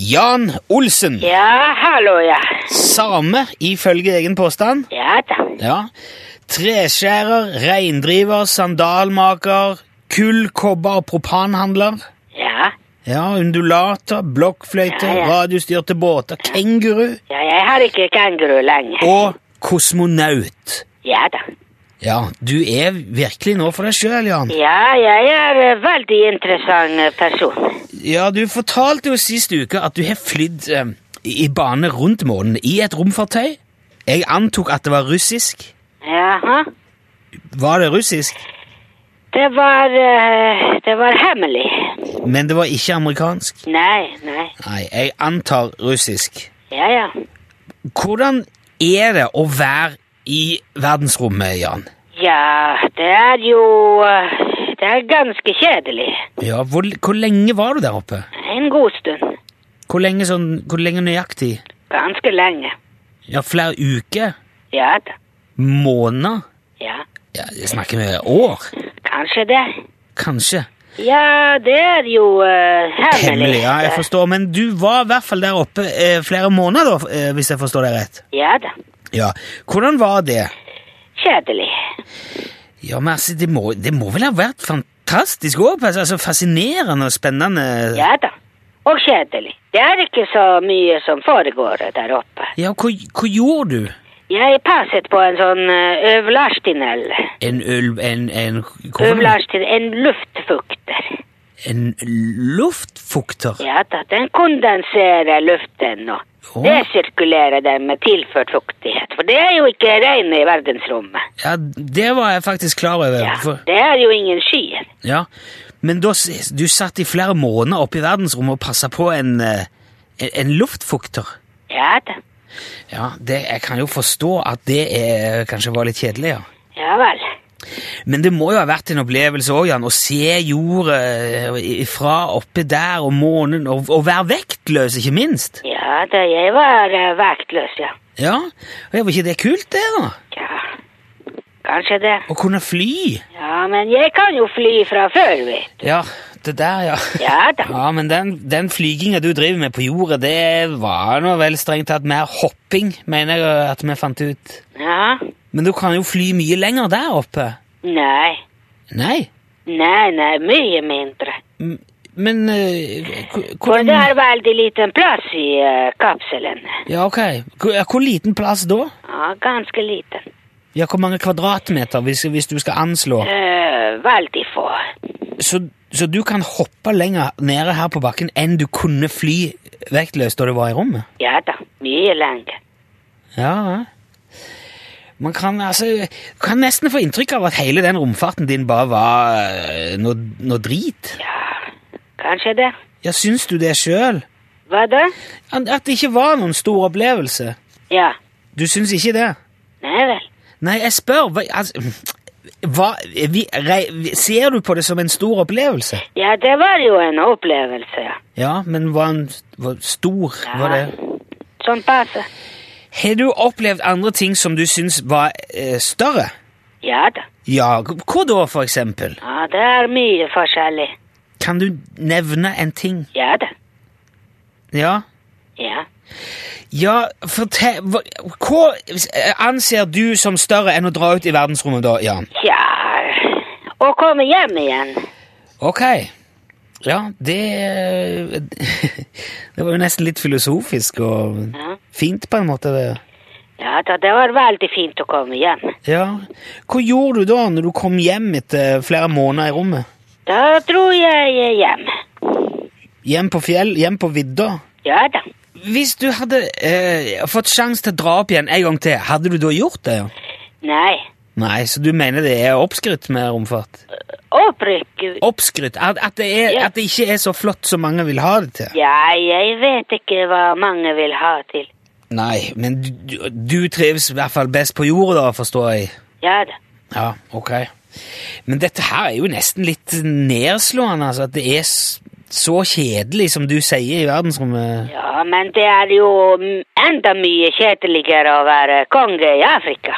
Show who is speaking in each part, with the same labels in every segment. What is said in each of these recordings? Speaker 1: Jan Olsen.
Speaker 2: Ja, hallo, ja.
Speaker 1: Same, ifølge egen påstand.
Speaker 2: Ja da.
Speaker 1: Ja. Treskjærer, reindriver, sandalmaker, kull, kobber og propanhandler.
Speaker 2: Ja.
Speaker 1: Ja, undulater, blokkfløyte,
Speaker 2: Ja, ja.
Speaker 1: radiostyrte båter, kenguru
Speaker 2: ja jeg har ikke kanguru lenger.
Speaker 1: og kosmonaut.
Speaker 2: Ja da.
Speaker 1: Ja, du er virkelig nå for deg sjøl, Jan.
Speaker 2: Ja, jeg er en veldig interessant eh, person.
Speaker 1: Ja, du fortalte jo sist uke at du har flydd eh, i bane rundt månen i et romfartøy. Jeg antok at det var russisk.
Speaker 2: Jaha.
Speaker 1: Var det russisk?
Speaker 2: Det var eh, Det var hemmelig.
Speaker 1: Men det var ikke amerikansk.
Speaker 2: Nei, nei.
Speaker 1: Nei, jeg antar russisk.
Speaker 2: Ja, ja.
Speaker 1: Hvordan er det å være i verdensrommet, Jan?
Speaker 2: Ja, det er jo eh, Det er ganske kjedelig.
Speaker 1: Ja, hvor, hvor lenge var du der oppe?
Speaker 2: En god stund.
Speaker 1: Hvor lenge, sånn, hvor lenge nøyaktig?
Speaker 2: Ganske lenge.
Speaker 1: Ja, flere uker?
Speaker 2: Ja da.
Speaker 1: Måneder?
Speaker 2: Ja.
Speaker 1: Ja, jeg snakker vi år?
Speaker 2: Kanskje det.
Speaker 1: Kanskje.
Speaker 2: Ja, det er jo eh, hemmelig.
Speaker 1: Hemmelig, ja, jeg forstår. Men du var i hvert fall der oppe eh, flere måneder, da, eh, hvis jeg forstår deg rett?
Speaker 2: Ja da.
Speaker 1: Ja. Hvordan var det?
Speaker 2: Kjedelig.
Speaker 1: Ja, men altså, det må, det må vel ha vært fantastisk òg? Altså, fascinerende og spennende?
Speaker 2: Ja da. Og kjedelig. Det er ikke så mye som foregår der oppe.
Speaker 1: Ja, hva, hva gjorde du?
Speaker 2: Jeg passet på en sånn eh, øvlastinell.
Speaker 1: En ulv En, en, hva var det?
Speaker 2: Øvlastin, en luftfukter.
Speaker 1: en luftfukter?
Speaker 2: Ja da, den kondenserer luften og
Speaker 1: Å.
Speaker 2: resirkulerer den med tilført fuktighet. For det er jo ikke regnet i verdensrommet.
Speaker 1: Ja, det var jeg faktisk klar over.
Speaker 2: Ja,
Speaker 1: For,
Speaker 2: det er jo ingen skyer.
Speaker 1: ja. Men da, s- du satt i flere måneder oppe i verdensrommet og passa på en, eh, en, en luftfukter?
Speaker 2: Ja da.
Speaker 1: Ja, det, jeg kan jo forstå at det er, kanskje var litt kjedelig, ja.
Speaker 2: Ja vel.
Speaker 1: Men det må jo ha vært en opplevelse òg, Jan, å se jorda fra oppe der og månen, og, og være vektløs, ikke minst.
Speaker 2: Ja da, jeg var eh, vektløs, ja.
Speaker 1: Ja, og Var ikke det kult, det? da?
Speaker 2: Ja, kanskje det.
Speaker 1: Å kunne fly.
Speaker 2: Ja, men jeg kan jo fly fra før, vi.
Speaker 1: Ja, det der, ja.
Speaker 2: Ja da.
Speaker 1: Ja, Men den, den flyginga du driver med på jorda, det var nå vel strengt tatt mer hopping, mener jeg at vi fant ut.
Speaker 2: Ja.
Speaker 1: Men du kan jo fly mye lenger der oppe.
Speaker 2: Nei.
Speaker 1: Nei.
Speaker 2: Nei, nei, mye mindre.
Speaker 1: M- Men eh, hvor-
Speaker 2: For
Speaker 1: hvordan
Speaker 2: det er veldig liten plass i eh, kapselen.
Speaker 1: Ja, ok. Hvor, ja, hvor liten plass da?
Speaker 2: Ja, ganske liten.
Speaker 1: Ja, Hvor mange kvadratmeter, hvis, hvis du skal anslå?
Speaker 2: Eh, veldig få.
Speaker 1: Så, så du kan hoppe lenger nede her på bakken enn du kunne fly vektløst da du var i rommet?
Speaker 2: Ja da, mye lenger.
Speaker 1: Ja, ja. Man kan altså kan nesten få inntrykk av at hele den romfarten din bare var eh, noe, noe drit.
Speaker 2: Ja, kanskje det.
Speaker 1: Ja, syns du det sjøl?
Speaker 2: Hva da?
Speaker 1: At at det ikke var noen stor opplevelse?
Speaker 2: Ja,
Speaker 1: Du syns ikke det?
Speaker 2: nei vel.
Speaker 1: Nei, jeg spør. Hva, altså, hva, vi, rei, vi- ser du på det som en stor opplevelse?
Speaker 2: Ja, det var jo en opplevelse, ja.
Speaker 1: Ja, men var den var stor? Var det?
Speaker 2: Sånn passe.
Speaker 1: Har du opplevd andre ting som du syns var eh, større?
Speaker 2: Ja da.
Speaker 1: Ja, hva da, for eksempel?
Speaker 2: Ja, det er mye forskjellig.
Speaker 1: Kan du nevne en ting?
Speaker 2: Ja da.
Speaker 1: Ja?
Speaker 2: Ja.
Speaker 1: Ja, fortell hva, hva anser du som større enn å dra ut i verdensrommet, da, Jan?
Speaker 2: Ja, å komme hjem igjen.
Speaker 1: Ok. Ja, det Det var jo nesten litt filosofisk og
Speaker 2: Ja.
Speaker 1: fint, på en måte. det.
Speaker 2: Ja da, det var veldig fint å komme hjem.
Speaker 1: Ja. Hva gjorde du da, når du kom hjem etter flere måneder i rommet?
Speaker 2: Da dro jeg hjem.
Speaker 1: Hjem på fjell? Hjem på vidda?
Speaker 2: Ja da.
Speaker 1: Hvis du hadde eh, fått sjanse til å dra opp igjen en gang til, hadde du da gjort det?
Speaker 2: Nei.
Speaker 1: Nei, så du mener det er oppskrytt med romfart?
Speaker 2: Opprykk.
Speaker 1: Oppskrytt? At, at, det er,
Speaker 2: Ja.
Speaker 1: at det ikke er så flott som mange vil ha det til?
Speaker 2: Ja, jeg vet ikke hva mange vil ha til.
Speaker 1: Nei, men du, du- du trives i hvert fall best på jorda, da, forstår jeg.
Speaker 2: Ja da.
Speaker 1: Ja, ok. Men dette her er jo nesten litt nedslående, altså. At det er s- så kjedelig som du sier i verdensrommet.
Speaker 2: Ja, men det er jo m- enda mye kjedeligere å være konge i Afrika.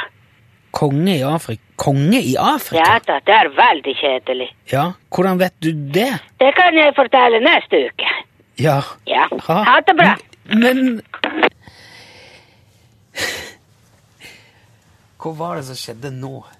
Speaker 1: Konge i Afrika. Konge i
Speaker 2: Ja
Speaker 1: Afrika?
Speaker 2: da, det er veldig kjedelig.
Speaker 1: Ja. Hvordan vet du det?
Speaker 2: Det kan jeg fortelle neste uke.
Speaker 1: Ja.
Speaker 2: Ja. Ha det bra.
Speaker 1: Men Hva var det som skjedde nå?